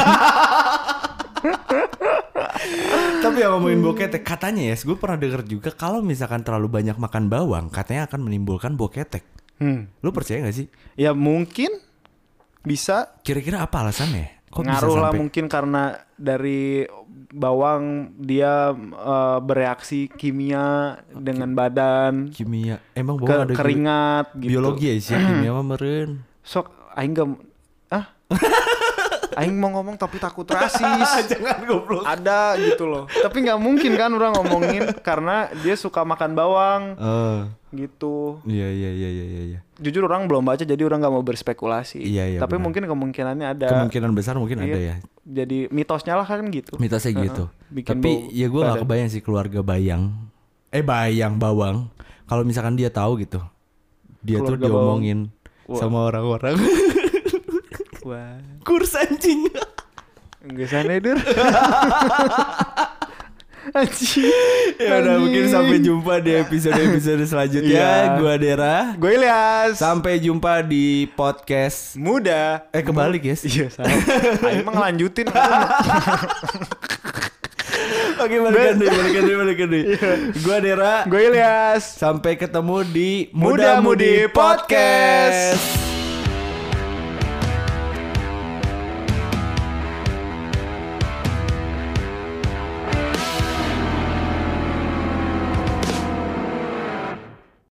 [SPEAKER 2] Tapi yang ngomongin
[SPEAKER 1] Hmm.
[SPEAKER 2] boketek katanya ya, gue pernah denger juga kalau misalkan terlalu banyak makan bawang katanya akan menimbulkan boketek.
[SPEAKER 1] Hmm.
[SPEAKER 2] Lu percaya gak sih?
[SPEAKER 1] Ya mungkin bisa
[SPEAKER 2] Kira-kira apa alasannya? Kok bisa
[SPEAKER 1] ngaruh lah
[SPEAKER 2] sampai-
[SPEAKER 1] mungkin karena dari bawang dia eh, bereaksi kimia dengan badan
[SPEAKER 2] kimia? Emang
[SPEAKER 1] ke
[SPEAKER 2] bawang ada bi-
[SPEAKER 1] keringat gitu.
[SPEAKER 2] biologi ya sih kimia mah meren.
[SPEAKER 1] Sok aing gak ah. aing mau ngomong tapi takut rasis.
[SPEAKER 2] Jangan goblok.
[SPEAKER 1] ada gitu loh. Tapi nggak mungkin kan orang ngomongin karena dia suka makan bawang
[SPEAKER 2] Eh,
[SPEAKER 1] gitu.
[SPEAKER 2] iya iya iya iya iya, iya.
[SPEAKER 1] Jujur orang belum baca jadi orang nggak mau berspekulasi.
[SPEAKER 2] Iya, iya,
[SPEAKER 1] tapi
[SPEAKER 2] benar.
[SPEAKER 1] mungkin kemungkinannya ada.
[SPEAKER 2] Kemungkinan besar mungkin ada ya.
[SPEAKER 1] Ya. Iya. Jadi mitosnya lah kan gitu.
[SPEAKER 2] Mitosnya gitu.
[SPEAKER 1] Bikin
[SPEAKER 2] Tapi
[SPEAKER 1] bau
[SPEAKER 2] ya gue gak kebayang sih keluarga bayang. Eh bayang bawang. Kalau misalkan dia tahu gitu, dia
[SPEAKER 1] Keluarga
[SPEAKER 2] tuh diomongin
[SPEAKER 1] Wah.
[SPEAKER 2] sama orang-orang.
[SPEAKER 1] Wah,
[SPEAKER 2] Kurs anjing.
[SPEAKER 1] enggak sana Dur. Anjing.
[SPEAKER 2] ya udah mungkin sampai jumpa di episode-episode
[SPEAKER 1] Iya.
[SPEAKER 2] selanjutnya. Gua Dera.
[SPEAKER 1] Gue Ilyas.
[SPEAKER 2] Sampai jumpa di podcast.
[SPEAKER 1] muda.
[SPEAKER 2] Eh kebalik guys.
[SPEAKER 1] Iya, sama. Ayo emang lanjutin.
[SPEAKER 2] Oke balikan deh, balikan deh, balikan deh. Gua Dera.
[SPEAKER 1] Gue Ilyas.
[SPEAKER 2] Sampai ketemu di
[SPEAKER 1] Muda Mudi Podcast.